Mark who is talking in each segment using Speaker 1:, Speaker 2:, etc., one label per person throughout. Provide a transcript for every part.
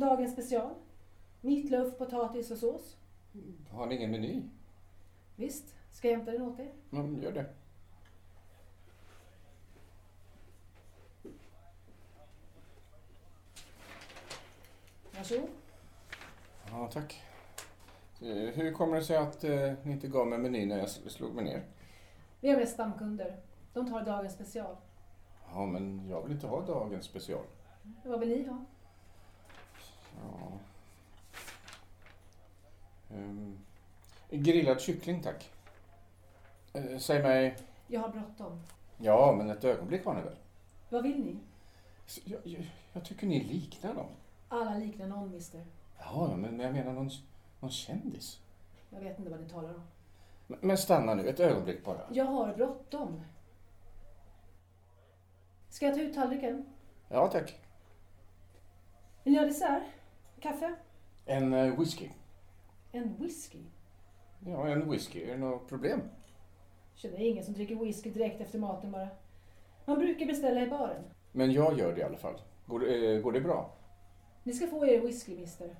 Speaker 1: dagens special. Meatloaf, potatis och sås.
Speaker 2: Har ni ingen meny?
Speaker 1: Visst, ska jag hämta den åt er?
Speaker 2: Mm, gör det.
Speaker 1: Varsågod.
Speaker 2: Ja, tack. Eh, Hur kommer det sig att eh, ni inte gav mig menyn när jag s- slog mig ner?
Speaker 1: Vi har mest stamkunder. De tar dagens special.
Speaker 2: Ja, men jag vill inte ha dagens special.
Speaker 1: Vad vill ni ha?
Speaker 2: Ja. Ehm, grillad kyckling, tack. Eh, säg mig...
Speaker 1: Jag har bråttom.
Speaker 2: Ja, men ett ögonblick har ni väl?
Speaker 1: Vad vill ni?
Speaker 2: Så Jag, jag, jag tycker ni liknar någon.
Speaker 1: Alla liknar någon, mister.
Speaker 2: Ja, men, men jag menar någon, någon kändis.
Speaker 1: Jag vet inte vad ni talar om.
Speaker 2: Men, men stanna nu, ett ögonblick bara.
Speaker 1: Jag har bråttom. Ska jag ta ut tallriken?
Speaker 2: Ja, tack.
Speaker 1: Vill ni ha dessert? Kaffe?
Speaker 2: En eh, whisky.
Speaker 1: En whisky?
Speaker 2: Ja, en whisky. Är det något problem?
Speaker 1: Känner ingen som dricker whisky direkt efter maten bara. Man brukar beställa i baren.
Speaker 2: Men jag gör det i alla fall. Går, det- eh, går det bra?
Speaker 1: Ni ska få er whisky, mister.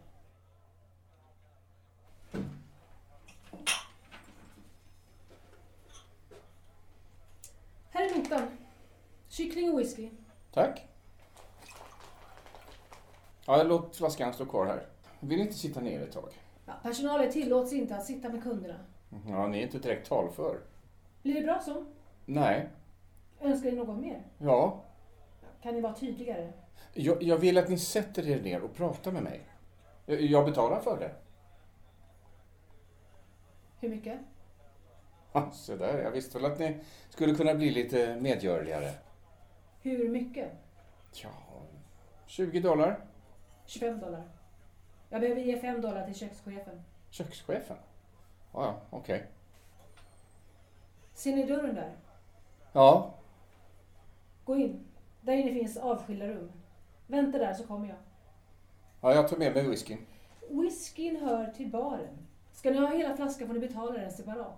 Speaker 1: Här är notan. Kyckling och whisky.
Speaker 2: Tack. Ja, låt flaskan stå kvar här. Vill ni inte sitta ner ett tag?
Speaker 1: Ja, personalen tillåts inte att sitta med kunderna.
Speaker 2: Ja, ni är inte direkt talför.
Speaker 1: Blir det bra så?
Speaker 2: Nej.
Speaker 1: Önskar ni något mer?
Speaker 2: Ja.
Speaker 1: Kan ni vara tydligare?
Speaker 2: Jag, jag vill att ni sätter er ner och pratar med mig. Jag, jag betalar för det.
Speaker 1: Hur mycket?
Speaker 2: Ha, se där, jag visste väl att ni skulle kunna bli lite medgörligare.
Speaker 1: Hur mycket?
Speaker 2: Ja, 20 dollar.
Speaker 1: 25 dollar. Jag behöver ge 5 dollar till kökschefen.
Speaker 2: Kökschefen. Ja, ja, okej.
Speaker 1: Ser ni dörren där?
Speaker 2: Ja,
Speaker 1: Gå in. Där inne finns avskilda rum. Vänta där så kommer jag.
Speaker 2: ja, jag tar med mig whiskyn.
Speaker 1: Whiskyn hör till baren. Ska ni ha hela flaskan får ni betala den separat.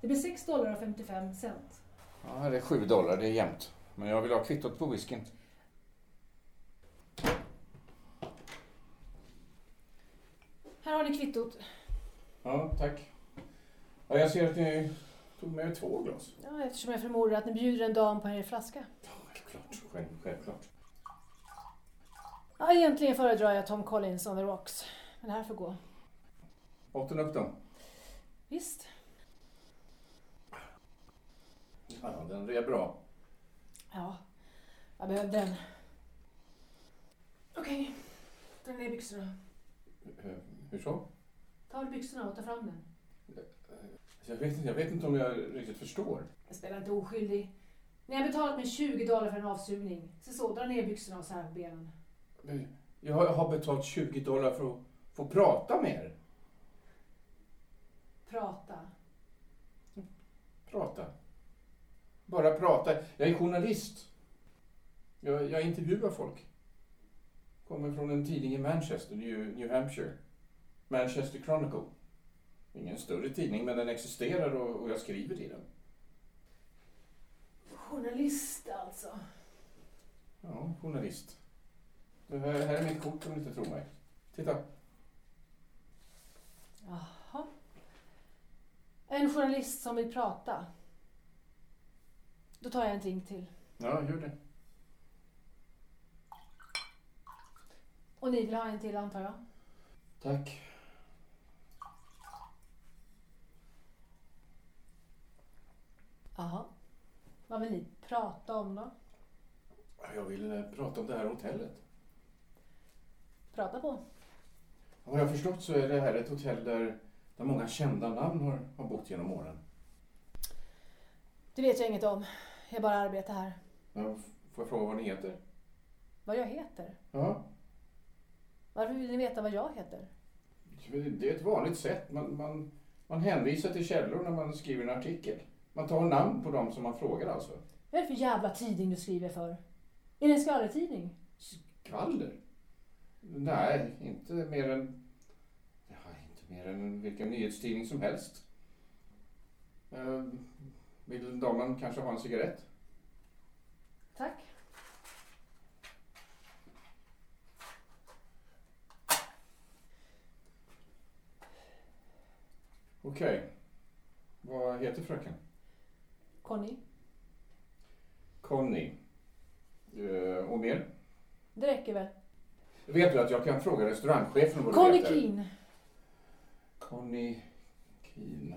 Speaker 1: Det blir 6 dollar och 55 cent.
Speaker 2: Ja, det är 7 dollar, det är jämnt. Men jag vill ha kvittot på whiskyn.
Speaker 1: Här har ni kvittot.
Speaker 2: Ja, tack. Ja, jag ser att ni tog med er två glas.
Speaker 1: Ja, eftersom jag förmodar att ni bjuder en dam på er flaska.
Speaker 2: Klart, själv- självklart.
Speaker 1: Ja, egentligen föredrar jag Tom Collins on the rocks. Men det här får gå.
Speaker 2: Åt den upp dem?
Speaker 1: Visst.
Speaker 2: Ja, den är bra.
Speaker 1: Ja, jag behövde den. Okej, ta ner byxorna.
Speaker 2: Eh, Hur så?
Speaker 1: Ta av byxorna och ta fram den.
Speaker 2: Jag vet, inte- jag vet inte om jag riktigt förstår.
Speaker 1: Jag spelar inte oskyldig. Ni har betalat mig 20 dollar för en avsugning. Se så, dra ner byxorna och sär på benen.
Speaker 2: Jag har- jag har betalt 20 dollar för att få prata med er.
Speaker 1: Prata.
Speaker 2: Prata. Bara prata. Jag är journalist. Jag, jag intervjuar folk. Kommer från en tidning i Manchester, New, New Hampshire. Manchester Chronicle. Ingen större tidning, men den existerar och, och jag skriver i den.
Speaker 1: Journalist alltså.
Speaker 2: Ja, journalist. Det här, här är mitt kort om ni inte tror mig. Titta.
Speaker 1: Jaha. En journalist som vill prata. Då tar jag en drink till.
Speaker 2: Ja, gör det.
Speaker 1: Och ni vill ha en till antar jag?
Speaker 2: Tack.
Speaker 1: Jaha. Vad vill ni prata om då?
Speaker 2: Jag vill eh, prata om det här hotellet.
Speaker 1: Prata på.
Speaker 2: Vad jag har förstått så är det här ett hotell där, där många kända namn har, har bott genom åren.
Speaker 1: Det vet jag inget om. Jag bara arbetar här.
Speaker 2: Ja, f- får jag fråga vad ni heter?
Speaker 1: Vad jag heter?
Speaker 2: Ja,
Speaker 1: Varför vill ni veta vad jag heter?
Speaker 2: Det är ett vanligt sätt. Man, man, man hänvisar till källor när man skriver en artikel. Man tar namn på dem som man frågar alltså.
Speaker 1: Vad är det för jävla tidning du skriver för? Är det en skvallertidning?
Speaker 2: Skvaller? Nej, inte mer än... Ja, inte mer än vilken nyhetstidning som helst. Eh, vill damen kanske ha en cigarett?
Speaker 1: Tack.
Speaker 2: Okej. Vad heter fröken?
Speaker 1: Conny,
Speaker 2: Conny. Eh, och mer?
Speaker 1: det räcker väl?
Speaker 2: Vet du att jag kan fråga restaurangchefen vad du
Speaker 1: Conny
Speaker 2: heter?
Speaker 1: Keen.
Speaker 2: Conny Keen.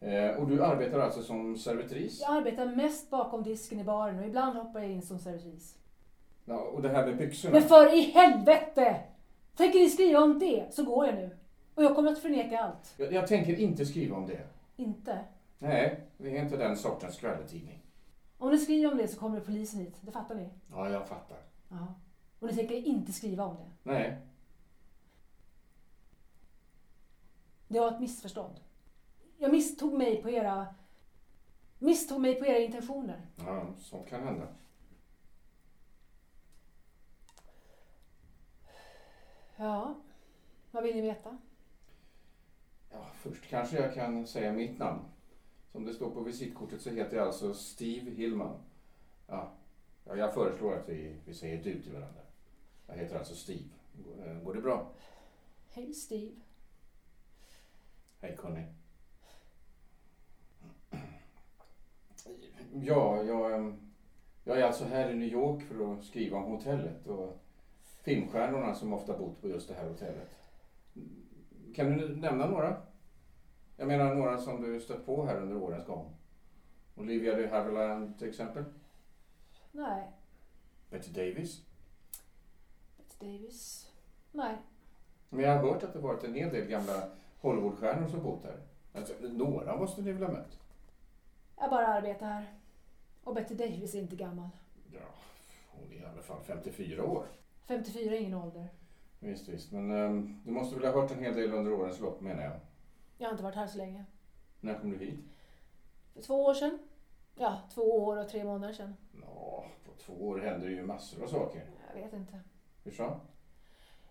Speaker 2: Eh, och du arbetar alltså som servitris?
Speaker 1: Jag arbetar mest bakom disken i baren och ibland hoppar jag in som servitris.
Speaker 2: Ja, och det här med byxorna?
Speaker 1: Men för i helvete! Tänker ni skriva om det så går jag nu. Och jag kommer att förneka allt.
Speaker 2: jag, jag tänker inte skriva om det.
Speaker 1: Inte.
Speaker 2: Nej, vi är inte den sortens skvallertidning.
Speaker 1: Om ni skriver om det så kommer polisen hit. Det fattar ni?
Speaker 2: Ja, jag fattar.
Speaker 1: Ja. Och ni tänker inte skriva om det.
Speaker 2: Nej,
Speaker 1: Det var ett missförstånd. Jag misstog mig på era... Misstog mig på era intentioner.
Speaker 2: ja, sånt kan hända.
Speaker 1: Ja. Vad vill ni veta?
Speaker 2: Ja, först kanske jag kan säga mitt namn. Som det står på visitkortet så heter jag alltså Steve Hillman. Ja, ja jag föreslår att vi, vi säger du till varandra. Jag heter alltså Steve. Går- eh, Går det bra?
Speaker 1: Hej Steve.
Speaker 2: Hej Conny. Ja, jag, ehm, jag är alltså här i New York för att skriva om hotellet och filmstjärnorna som ofta bott på just det här hotellet. Kan du nämna några? Jag menar några som du stött på här under årens gång. Olivia de Havilland till exempel.
Speaker 1: Nej.
Speaker 2: Betty Davis.
Speaker 1: Bette Davis. Nej.
Speaker 2: Men jag har hört att det varit en hel del gamla Hollywoodstjärnor som bott här. Alltså, några måste ni väl ha mött?
Speaker 1: Jag bara arbetar här. Och Betty Davis är inte gammal.
Speaker 2: Ja, hon är i alla fall 54 år.
Speaker 1: 54 är ingen ålder.
Speaker 2: Visst, visst. Men ehm, du måste väl ha hört en hel del under årens lopp menar jag.
Speaker 1: Jag har inte varit här så länge.
Speaker 2: När kom du hit?
Speaker 1: För två år sedan. Ja, två år och tre månader sedan.
Speaker 2: Ja, på två år händer det ju massor av saker.
Speaker 1: Jag vet inte.
Speaker 2: Hur så?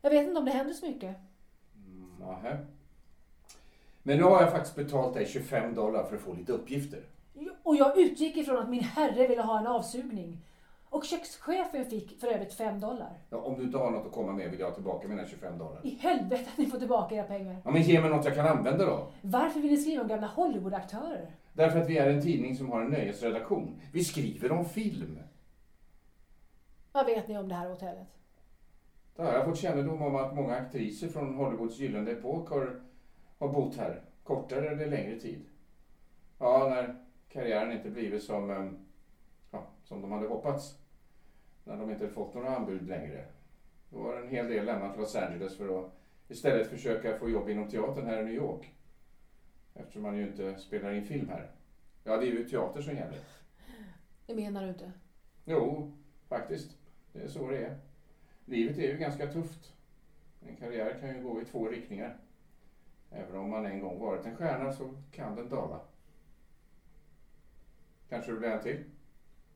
Speaker 1: Jag vet inte om det händer så mycket.
Speaker 2: Mm, aha. Men nu har jag faktiskt betalt dig 25 dollar för att få lite uppgifter.
Speaker 1: Och jag utgick ifrån att min herre ville ha en avsugning. Och kökschefen fick för övrigt fem dollar.
Speaker 2: Ja, om du inte har något att komma med vill jag ha tillbaka mina 25 dollar.
Speaker 1: I helvete att ni får tillbaka era pengar.
Speaker 2: Ja, men ge mig något jag kan använda då.
Speaker 1: Varför vill ni skriva om gamla Hollywoodaktörer?
Speaker 2: Därför att vi är en tidning som har en nöjesredaktion. Vi skriver om film.
Speaker 1: Vad vet ni om det här hotellet?
Speaker 2: Där har jag fått kännedom om att många aktriser från Hollywoods gyllene epok har, har bott här kortare eller längre tid. Ja, när karriären inte blivit som, eh, ja, som de hade hoppats. När de inte fått några anbud längre. Då har en hel del lämnat Los Angeles för att istället försöka få jobb inom teatern här i New York. Eftersom man ju inte spelar in film här. Ja, det är ju teater som gäller.
Speaker 1: Det menar du inte.
Speaker 2: Jo, faktiskt. Det är så det är. Livet är ju ganska tufft. En karriär kan ju gå i två riktningar. Även om man en gång varit en stjärna så kan den dala. Kanske du blir en till?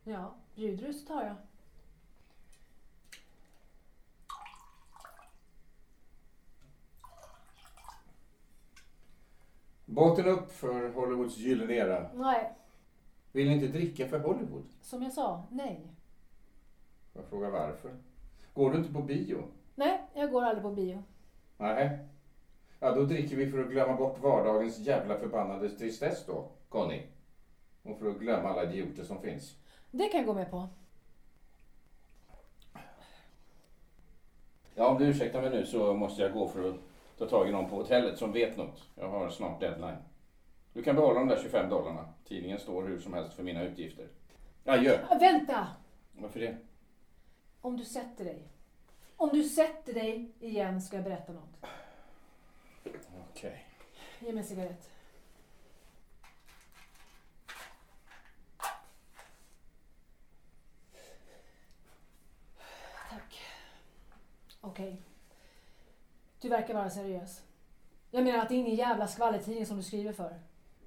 Speaker 1: Ja, bjuder du så tar jag.
Speaker 2: Båten upp för Hollywoods gyllene era.
Speaker 1: Nej,
Speaker 2: Vill ni inte dricka för Hollywood?
Speaker 1: som jag sa, nej.
Speaker 2: Jag frågar varför. Går du inte på bio?
Speaker 1: Nej, jag går aldrig på bio.
Speaker 2: Nej. Ja, då dricker vi för att glömma bort vardagens jävla förbannade tristess då, Conny. Och för att glömma alla idioter som finns.
Speaker 1: Det kan jag gå med på.
Speaker 2: Ja, om du ursäktar mig nu så måste jag gå för att ta tag i någon på hotellet som vet något. Jag har snart deadline. Du kan behålla de där 25 dollarna. Tidningen står hur som helst för mina utgifter. Adjö.
Speaker 1: Ah, Vänta!
Speaker 2: Varför det?
Speaker 1: Om du sätter dig. Om du sätter dig igen ska jag berätta något.
Speaker 2: Okej.
Speaker 1: Ge mig en cigarett. Tack. Okej. Du verkar vara seriös. Jag menar att det är ingen jävla skvallertidning som du skriver för.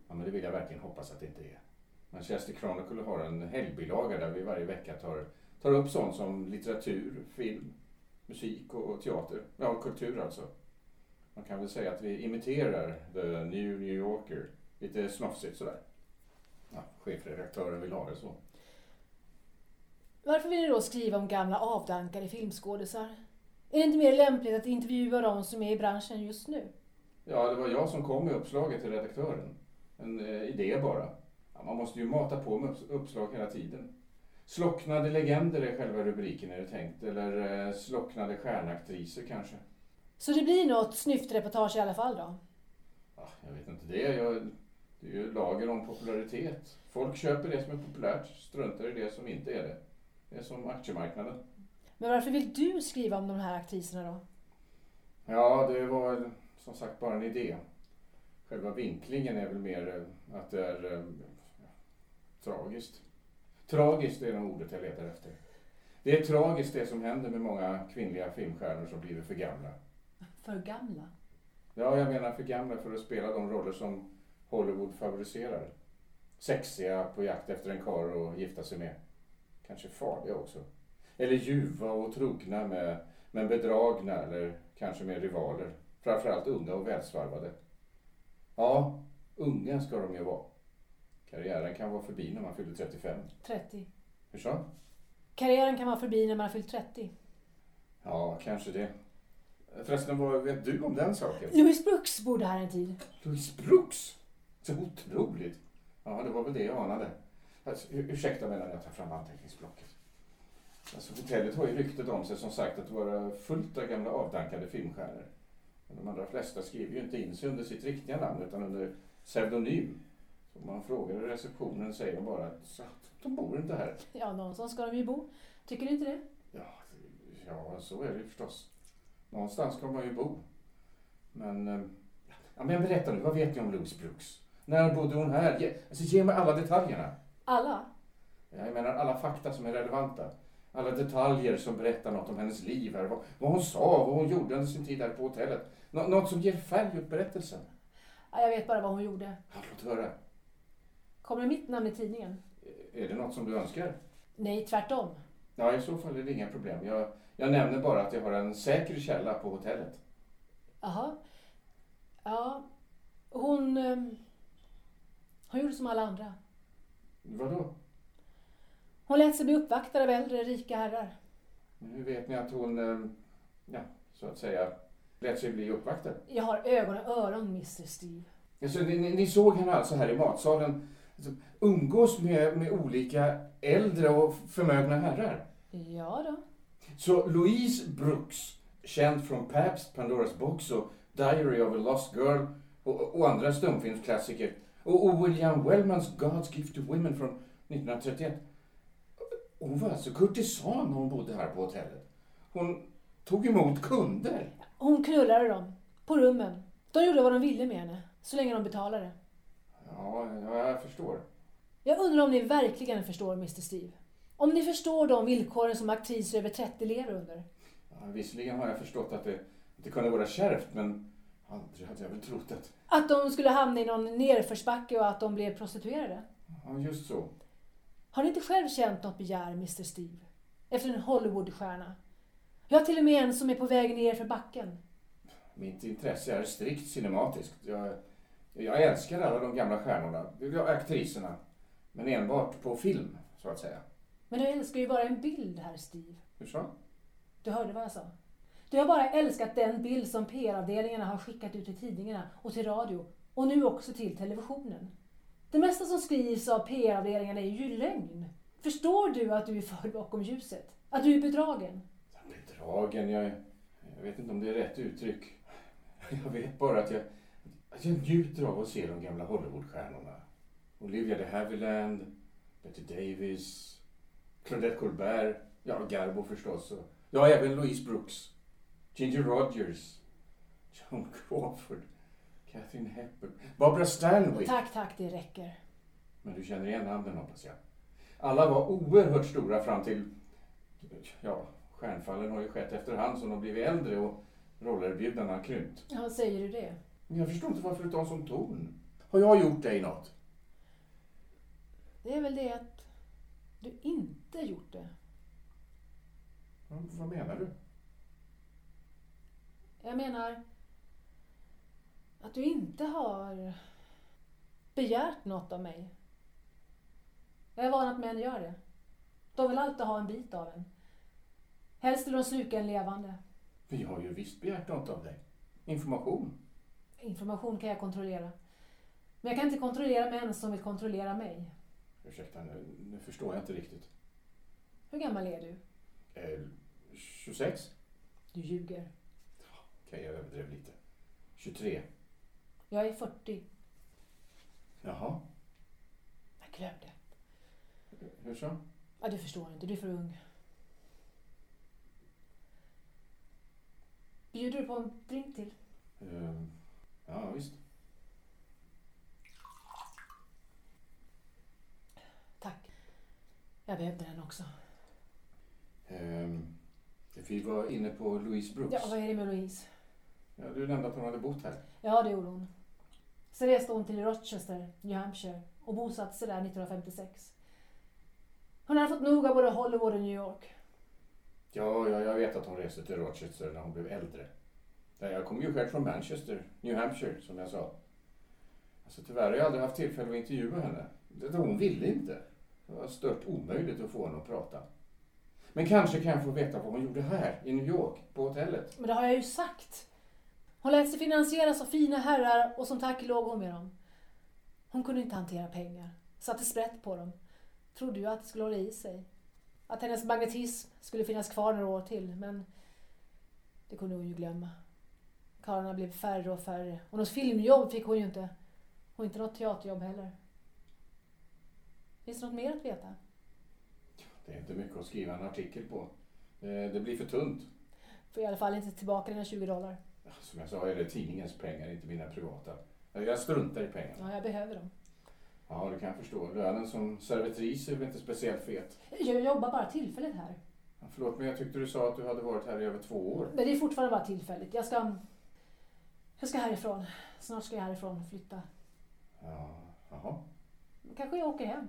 Speaker 2: Ja, men det vill jag verkligen hoppas att det inte är. Manchester Chronicle har en helgbilaga där vi varje vecka tar, tar upp sånt som litteratur, film, musik och, och teater. Ja, kultur alltså. Man kan väl säga att vi imiterar The New New Yorker. Lite snofsigt sådär. Ja, chefredaktören vill ha det så.
Speaker 1: Varför vill ni då skriva om gamla avdankade filmskådisar? Är det inte mer lämpligt att intervjua de som är i branschen just nu?
Speaker 2: Ja, Ja, det var jag som kom med uppslaget till redaktören. En eh, idé bara. Ja, man måste ju mata på med upps- uppslag hela tiden. Slocknade legender är själva rubriken är det tänkt. Eller eh, slocknade stjärnaktriser kanske.
Speaker 1: Så det blir något snyftreportage i alla fall då?
Speaker 2: Ah, jag vet inte det. Jag, det är ju lager om popularitet. Folk köper det som är populärt, struntar i det som inte är det. Det är som aktiemarknaden.
Speaker 1: Men varför vill du skriva om de här aktriserna då?
Speaker 2: Ja, det var som sagt bara en idé. Själva vinklingen är väl mer eh, att det är eh, tragiskt. Tragiskt är nog ordet jag letar efter. Det är tragiskt det som händer med många kvinnliga filmstjärnor som blivit för gamla.
Speaker 1: För gamla?
Speaker 2: Ja, jag menar för gamla för att spela de roller som Hollywood favoriserar. Sexiga, på jakt efter en karl att gifta sig med. Kanske farliga också. Eller ljuva och trogna med, men bedragna eller kanske med rivaler. Framförallt unga och välsvarvade. Ja, unga ska de ju vara. Karriären kan vara förbi när man fyller 35.
Speaker 1: 30.
Speaker 2: Hur så?
Speaker 1: Karriären kan vara förbi när man har fyllt 30.
Speaker 2: Ja, kanske det. Förresten, vad vet du om den saken?
Speaker 1: Louis Brooks bodde här en tid.
Speaker 2: Louise Brooks? Så otroligt! Ja, det var väl det jag anade. Alltså, ur- ursäkta mig när jag tar fram anteckningsblocket. Alltså, hotellet har ju ryktet om sig som sagt att vara fullt av gamla avdankade filmstjärnor. Men de allra flesta skriver ju inte in sig under sitt riktiga namn utan under pseudonym. Så Om man frågar i receptionen säger de bara att "Så, de bor inte här.
Speaker 1: Ja, någonstans ska de ju bo. Tycker du inte det?
Speaker 2: Ja, ja, så är det ju förstås. Någonstans ska man ju bo. Men, eh, ja, men berätta nu, vad vet ni om Louise Brooks? När bodde hon här? Ge, alltså, ge mig alla detaljerna.
Speaker 1: Alla?
Speaker 2: Jag menar alla fakta som är relevanta. Alla detaljer som berättar något om hennes liv här. Vad, vad hon sa, vad hon gjorde under sin tid här på hotellet. Nå, något som ger färg åt berättelsen.
Speaker 1: Ja, jag vet bara vad hon gjorde.
Speaker 2: Ja, låt höra.
Speaker 1: Kommer mitt namn i tidningen?
Speaker 2: Är det något som du önskar?
Speaker 1: Nej, tvärtom.
Speaker 2: Ja, i så fall är det inga problem. Jag, jag nämner bara att jag har en säker källa på hotellet.
Speaker 1: Jaha. Ja, hon... ehm, Hon gjorde som alla andra.
Speaker 2: Vadå?
Speaker 1: Hon lät sig bli uppvaktad av äldre, rika herrar.
Speaker 2: Nu vet ni att hon, eh, ja, så att säga, lät sig bli uppvaktad.
Speaker 1: Jag har ögon och öron, Mr Steve.
Speaker 2: Alltså, ni, ni, ni såg henne alltså här i matsalen alltså, umgås med, med olika äldre och förmögna herrar.
Speaker 1: Ja då.
Speaker 2: Så Louise Brooks, känd från Pabst, Pandoras box och Diary of a Lost Girl och, och andra stumfilmsklassiker. Och, och William Wellmans God's Gift to Women från 1931. Hon var alltså kurtisan när hon bodde här på hotellet. Hon tog emot kunder.
Speaker 1: Hon knullade dem. På rummen. De gjorde vad de ville med henne. Så länge de betalade.
Speaker 2: Ja, ja, jag förstår.
Speaker 1: Jag undrar om ni verkligen förstår Mr Steve. Om ni förstår de villkoren som aktriser över 30 lever under.
Speaker 2: Ja, visserligen har jag förstått att det, att det kunde vara kärvt, men aldrig hade jag väl trott att...
Speaker 1: Att de skulle hamna i någon nerförsbacke och att de blev prostituerade.
Speaker 2: Ja, just så.
Speaker 1: Har ni inte själv känt något begär, Mr Steve? Efter en Hollywoodstjärna? Jag har till och med en som är på väg ner för backen.
Speaker 2: Mitt intresse är strikt cinematiskt. Jag, jag älskar alla de gamla stjärnorna, ja, aktriserna, men enbart på film, så att säga.
Speaker 1: Men du älskar ju bara en bild, herr Steve.
Speaker 2: Hur så?
Speaker 1: Du hörde vad jag sa. Du har bara älskat den bild som PR-avdelningarna har skickat ut till tidningarna och till radio och nu också till televisionen. Det mesta som skrivs av PR-avdelningarna är ju lögn. Förstår du att du är förd bakom ljuset? Att du är bedragen?
Speaker 2: Bedragen, jag, jag vet inte om det är rätt uttryck. Jag vet bara att jag, att jag njuter av att se de gamla Hollywoodstjärnorna. Olivia de Havilland, Betty Davis, Claudette Colbert, ja Garbo förstås. och- Ja, även Louise Brooks, Ginger Rogers, Joan Crawford, Katharine Hepburn, Barbara Stanwyck.
Speaker 1: Tack, tack, det räcker.
Speaker 2: Men du känner igen namnen hoppas jag. Alla var oerhört stora fram till... Ja, stjärnfallen har ju skett efterhand som de blivit äldre och rollerbjudandena har krympt.
Speaker 1: Ja, säger du det?
Speaker 2: Men jag förstår inte varför du tar en sån ton. Har jag gjort dig något?
Speaker 1: Det är väl det att du inte gjort det.
Speaker 2: Mm, Vad menar du?
Speaker 1: Jag menar att du inte har begärt något av mig. Jag är van att män gör det. De vill alltid ha en bit av en. Helst vill de sluka en levande.
Speaker 2: Vi har ju visst begärt något av dig. Information.
Speaker 1: Information kan jag kontrollera. Men jag kan inte kontrollera män som vill kontrollera mig.
Speaker 2: Ursäkta, nu, nu förstår jag inte riktigt.
Speaker 1: Hur gammal är du?
Speaker 2: Eh, 26?
Speaker 1: Du ljuger.
Speaker 2: Okej, jag överdrev lite. 23?
Speaker 1: Jag är 40.
Speaker 2: Jaha,
Speaker 1: Jag glömde.
Speaker 2: hur så?
Speaker 1: Ja, du förstår inte. Du är för ung. Bjuder du på en drink till?
Speaker 2: Eh, ja, visst.
Speaker 1: Tack. Jag behövde den också.
Speaker 2: Eh, vi var inne på Louise Brooks.
Speaker 1: Ja, vad är det med Louise?
Speaker 2: Ja, du nämnde att hon hade bott här.
Speaker 1: Ja, det gjorde hon. Sen reste hon till Rochester, New Hampshire och bosatte sig där 1956. Hon hade fått nog av både Hollywood och New York.
Speaker 2: Ja, ja, jag vet att hon reste till Rochester när hon blev äldre. Ja, jag kommer ju själv från Manchester, New Hampshire, som jag sa. Alltså, tyvärr har jag aldrig haft tillfälle att intervjua henne. Det- Hon ville inte. Det var stört omöjligt att få henne att prata. Men kanske kan jag få veta vad hon gjorde här, i New York, på hotellet.
Speaker 1: Men det har jag ju sagt. Hon lät sig finansieras av fina herrar och som tack låg hon med dem. Hon kunde inte hantera pengar. Satte sprätt på dem. Trodde ju att det skulle hålla i sig. Att hennes magnetism skulle finnas kvar några år till, men det kunde hon ju glömma. Karlarna blev färre och färre. Och något filmjobb fick hon ju inte. Och inte något teaterjobb heller. Finns det något mer att veta?
Speaker 2: Det är inte mycket att skriva en artikel på. Eh, Det blir för tunt. Ah,
Speaker 1: Får i alla fall inte tillbaka dina 20 dollar.
Speaker 2: Som jag sa är det tidningens pengar, inte mina privata. Ja, Jag struntar i pengarna.
Speaker 1: Ja, jag behöver dem.
Speaker 2: Ja, det kan jag förstå. Lönen som servitris är väl inte speciellt fet.
Speaker 1: Jag jobbar bara tillfälligt här.
Speaker 2: Ja, Förlåt, men jag tyckte du sa att du hade varit här i över två år.
Speaker 1: Men det är fortfarande bara tillfälligt. Jag ska, jag ska härifrån. Snart ska jag härifrån och flytta.
Speaker 2: Ja, jaha.
Speaker 1: Kanske jag åker hem.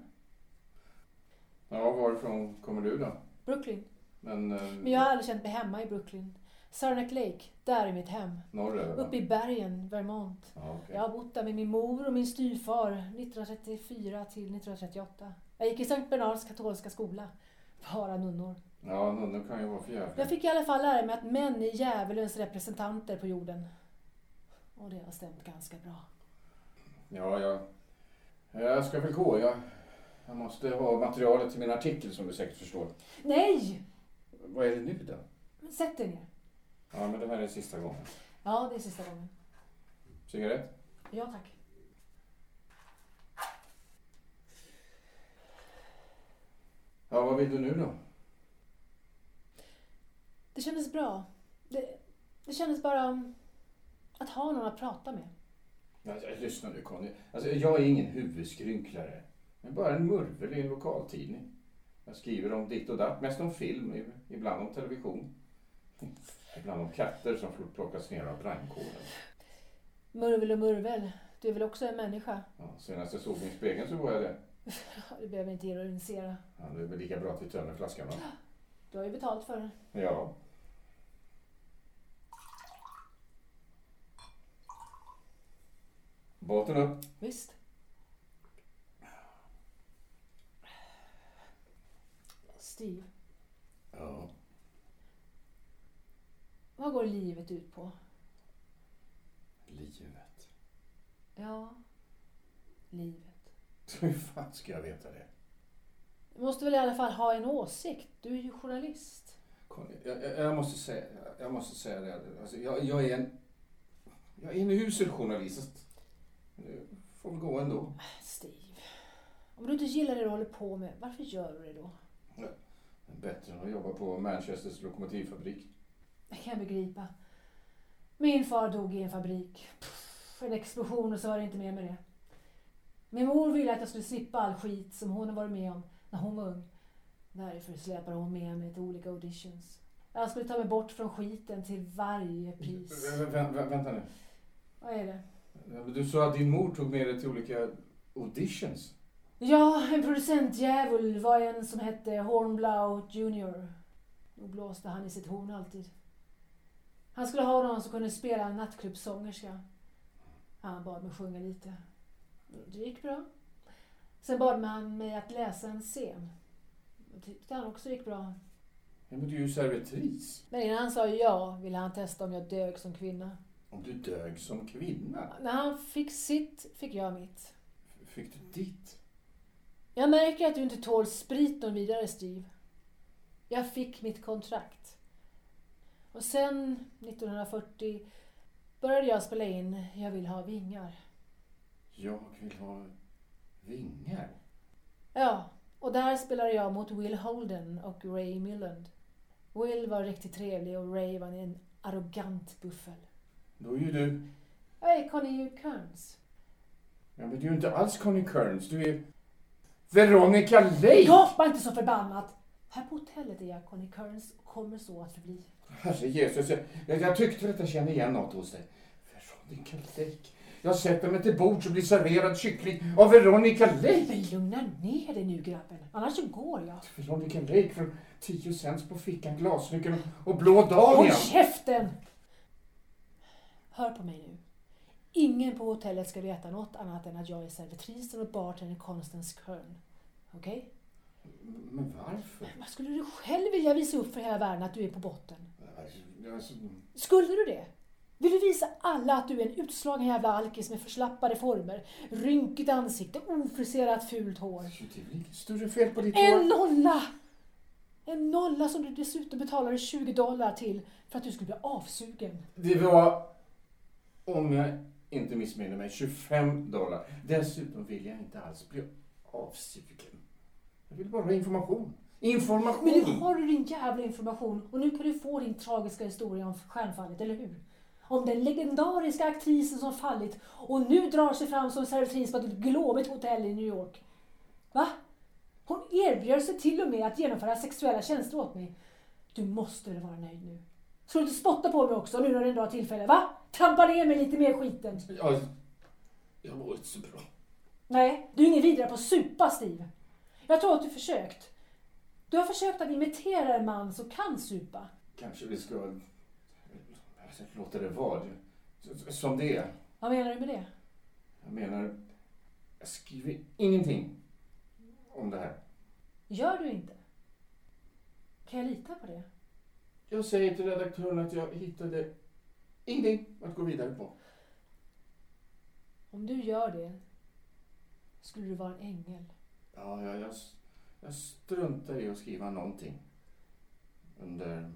Speaker 2: Ja, varifrån kommer du då?
Speaker 1: Brooklyn.
Speaker 2: Men, eh,
Speaker 1: Men jag har aldrig känt mig hemma i Brooklyn. Saranac Lake, där är mitt hem.
Speaker 2: norröver? va?
Speaker 1: Uppe i bergen, Vermont.
Speaker 2: Ja, okej.
Speaker 1: Jag har bott där med min mor och min styvfar 1934 till 1938. Jag gick i Sankt Bernards katolska skola. Bara nunnor.
Speaker 2: ja, nunnor kan ju vara för jävla.
Speaker 1: Jag fick i alla fall lära mig att män är djävulens representanter på jorden. Och det har stämt ganska bra.
Speaker 2: Ja, jag, jag ska väl gå. Jag, jag måste ha materialet till min artikel som du säkert förstår.
Speaker 1: Nej!
Speaker 2: Vad är det nu då?
Speaker 1: Sätt dig ner.
Speaker 2: Ja, men det här är sista gången.
Speaker 1: Ja, det är sista gången.
Speaker 2: Cigarett?
Speaker 1: Ja, tack.
Speaker 2: Ja, vad vill du nu då?
Speaker 1: Det kändes bra. Det, det kändes bara um, att ha någon att prata med.
Speaker 2: Ja, ja, lyssna nu Conny. Alltså, jag är ingen huvudskrynklare. Jag är bara en murvel i en lokaltidning. Jag skriver om ditt och datt, mest om film, i- ibland om television. Ibland om katter som får plockas ner av brandkåren.
Speaker 1: Murvel och murvel, du är väl också en människa?
Speaker 2: Ja, senast jag såg mig i spegeln så var jag det.
Speaker 1: Du behöver inte ironisera.
Speaker 2: Ja, det är väl lika bra att vi tömmer flaskan va?
Speaker 1: Du har ju betalt för det.
Speaker 2: Ja. Båten upp.
Speaker 1: Visst. Steve,
Speaker 2: Ja.
Speaker 1: vad går livet ut på?
Speaker 2: Livet.
Speaker 1: Ja, livet.
Speaker 2: Hur fan ska jag veta det?
Speaker 1: Du måste väl i alla fall ha en åsikt? Du är ju journalist.
Speaker 2: Conny, jag, jag, jag, måste säga, jag måste säga det. Alltså, jag, jag är en... Jag är en usel journalist. Nu får vi gå ändå.
Speaker 1: Steve, om du inte gillar det du håller på med, varför gör du det då?
Speaker 2: Bättre än att jobba på Manchesters lokomotivfabrik.
Speaker 1: Det kan jag begripa. Min far dog i en fabrik. Pff, en explosion och så var det inte mer med det. Min mor ville att jag skulle slippa all skit som hon har varit med om när hon var ung. Därför släpade hon med mig till olika auditions. Jag skulle ta mig bort från skiten till varje pris.
Speaker 2: Vä- vä- vä- vänta nu.
Speaker 1: Vad är det?
Speaker 2: Ja, men Du sa att din mor tog med dig till olika auditions.
Speaker 1: Ja, en producentdjävul var en som hette Hornblow Junior. Då blåste han i sitt horn alltid. Han skulle ha någon som kunde spela en nattklubbssångerska. Han bad mig sjunga lite. Det gick bra. Sen bad han mig att läsa en scen. Det tyckte han också gick bra.
Speaker 2: Ja, men du är ju servitris.
Speaker 1: Men innan han sa ja ville han testa om jag dög som kvinna.
Speaker 2: Om du dög som kvinna?
Speaker 1: När han fick sitt fick jag mitt.
Speaker 2: Fick du ditt?
Speaker 1: Jag märker att du inte tål sprit någon vidare, Steve. Jag fick mitt kontrakt. Och sen, 1940, började jag spela in Jag vill ha vingar.
Speaker 2: Jag vill ha vingar.
Speaker 1: Ja, och där spelade jag mot Will Holden och Ray Milland. Will var riktigt trevlig och Ray var en arrogant buffel.
Speaker 2: Då är ju du...
Speaker 1: Jag är Connie Hugh Kearns.
Speaker 2: Ja, men du är ju inte alls Connie Kearns. Du är... Veronica Lake!
Speaker 1: Gapa inte så förbannat! Här på hotellet är jag Connie Kearns och kommer så att förbli.
Speaker 2: Herre Jesus, jag, jag, jag tyckte att jag kände igen något hos dig. Veronica Lake. Jag sätter mig till bord och blir serverad kyckling av Veronica Lake.
Speaker 1: Men lugna ner dig nu grabben, annars så går jag.
Speaker 2: Veronica Lake från 10 cents på fickan, glasnyckeln och- och blå dagen.
Speaker 1: Håll käften! Hör på mig nu. Ingen på hotellet ska veta något annat än att jag är servitrisen och bartendern Constance Kern. Okej?
Speaker 2: Men varför?
Speaker 1: Vad skulle du själv vilja visa upp för hela världen att du är på botten?
Speaker 2: Alltså,
Speaker 1: Skulle du det? Vill du visa alla att du är en utslagen jävla alkis med förslappade former, rynkigt ansikte, ofriserat fult hår?
Speaker 2: det är väl inget större fel på ditt
Speaker 1: En
Speaker 2: hår?
Speaker 1: nolla! En nolla som du dessutom betalade 20 dollar till för att du skulle bli avsugen.
Speaker 2: Det var, om jag inte missminner mig, 25 dollar. Dessutom vill jag inte alls bli avsugen. Jag vill bara ha information. Information!
Speaker 1: Men nu har du din jävla information och nu kan du få din tragiska historia om stjärnfallet, eller hur? Om den legendariska aktrisen som fallit och nu drar sig fram som servitris på ett glåmigt hotell i New York. Va? Hon erbjöd sig till och med att genomföra sexuella tjänster åt mig. Du måste väl vara nöjd nu? Ska du inte spotta på mig också nu när du ändå har tillfälle? Va? Trampa ner mig lite mer i skiten.
Speaker 2: Ja, jag mår inte så bra.
Speaker 1: Nej, du är ingen vidare på att supa, Steve. Jag tror att du försökt. Du har försökt att imitera en man som kan supa.
Speaker 2: Kanske vi ska alltså, låta det vara. Det- Som det är.
Speaker 1: Vad menar du med det?
Speaker 2: Jag menar, jag skriver ingenting om det här.
Speaker 1: Gör du inte? Kan jag lita på det?
Speaker 2: Jag säger till redaktören att jag hittade ingenting att gå vidare på.
Speaker 1: Om du gör det skulle du vara en ängel.
Speaker 2: Ja, jag, jag, jag struntar i att skriva någonting. Under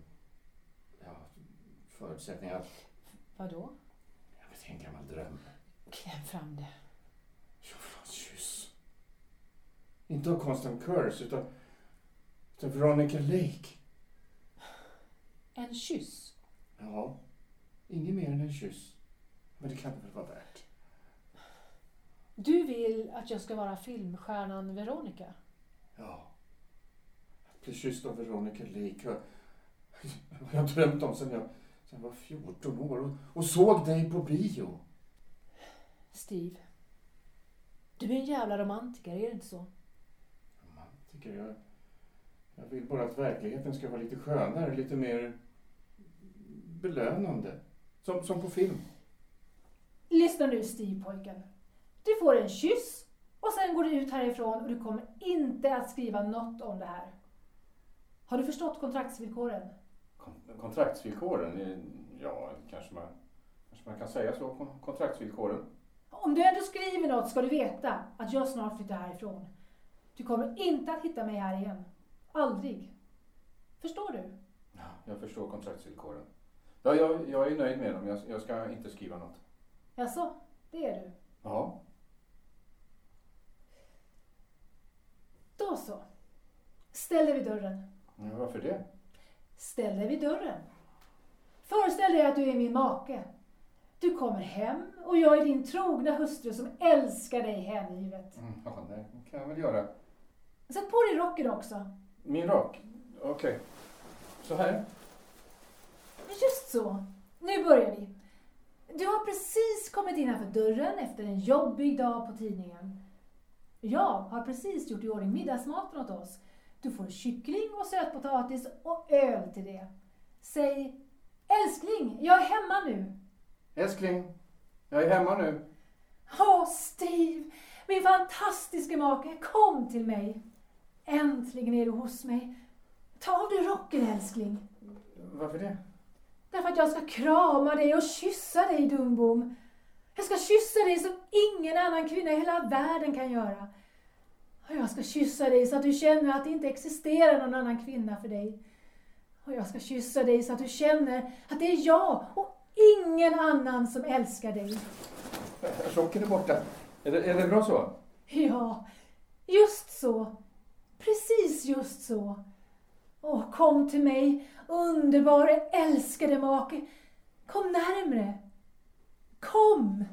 Speaker 2: ja, förutsättning att
Speaker 1: Vadå?
Speaker 2: jag vet, en gammal dröm.
Speaker 1: Kläm fram det.
Speaker 2: Ja, fan, kyss. Inte av Constant Curse utan, utan Veronica Lake.
Speaker 1: En kyss.
Speaker 2: Ja, inget mer än en kyss. Men det kan det väl vara värt?
Speaker 1: Du vill att jag ska vara filmstjärnan Veronica.
Speaker 2: Ja. Att bli kysst av Veronica Lake har har jag drömt om sedan jag, sedan jag var 14 år och, och såg dig på bio.
Speaker 1: Steve. Du är en jävla romantiker, är det inte så?
Speaker 2: Mm. Romantiker, jag, jag vill bara att verkligheten ska vara lite skönare, lite mer belönande. Som, som på film.
Speaker 1: Lyssna nu Steve-pojken. Du får en kyss och sen går du ut härifrån och du kommer inte att skriva något om det här. Har du förstått kontraktsvillkoren?
Speaker 3: Kon- Kontraktsvillkoren, eh, ja kanske man, kanske man kan säga så. kon- Kontraktsvillkoren.
Speaker 1: Om du ändå skriver något ska du veta att jag snart flyttar härifrån. Du kommer inte att hitta mig här igen. Aldrig. Förstår du?
Speaker 3: Ja, Jag förstår kontraktsvillkoren. Ja, jag, jag är nöjd med dem. Jag, jag ska inte skriva något.
Speaker 1: Jaså, det är du.
Speaker 3: Ja,
Speaker 1: Då så. Ställ dig vid dörren.
Speaker 3: men varför det?
Speaker 1: Ställ dig vid dörren. Föreställ dig att du är min make. Du kommer hem och jag är din trogna hustru som älskar dig hängivet.
Speaker 3: Mm, Ja, det kan jag väl göra.
Speaker 1: Sätt på dig rocken också.
Speaker 3: Min rock? Okej. Så här?
Speaker 1: Just så. Nu börjar vi. Du har precis kommit innanför dörren efter en jobbig dag på tidningen. Jag har precis gjort i ordning middagsmaten åt oss. Du får kyckling och sötpotatis och öl till det. Säg Älskling, jag är hemma nu.
Speaker 3: Älskling, jag är hemma nu.
Speaker 1: Åh, Steve, min fantastiska make, kom till mig. Äntligen är du hos mig. Ta av dig rocken, älskling.
Speaker 3: Varför det?
Speaker 1: Därför att jag ska krama dig och kyssa dig, Dumbom. Jag ska kyssa dig som ingen annan kvinna i hela världen kan göra. Och jag ska kyssa dig så att du känner att det inte existerar någon annan kvinna för dig. Och jag ska kyssa dig så att du känner att det är jag och ingen annan som älskar dig.
Speaker 2: Chocken är borta. Är det, är det bra så?
Speaker 1: Ja, just så. Precis just så. Åh, kom till mig, underbara älskade make. Kom närmre. Kom!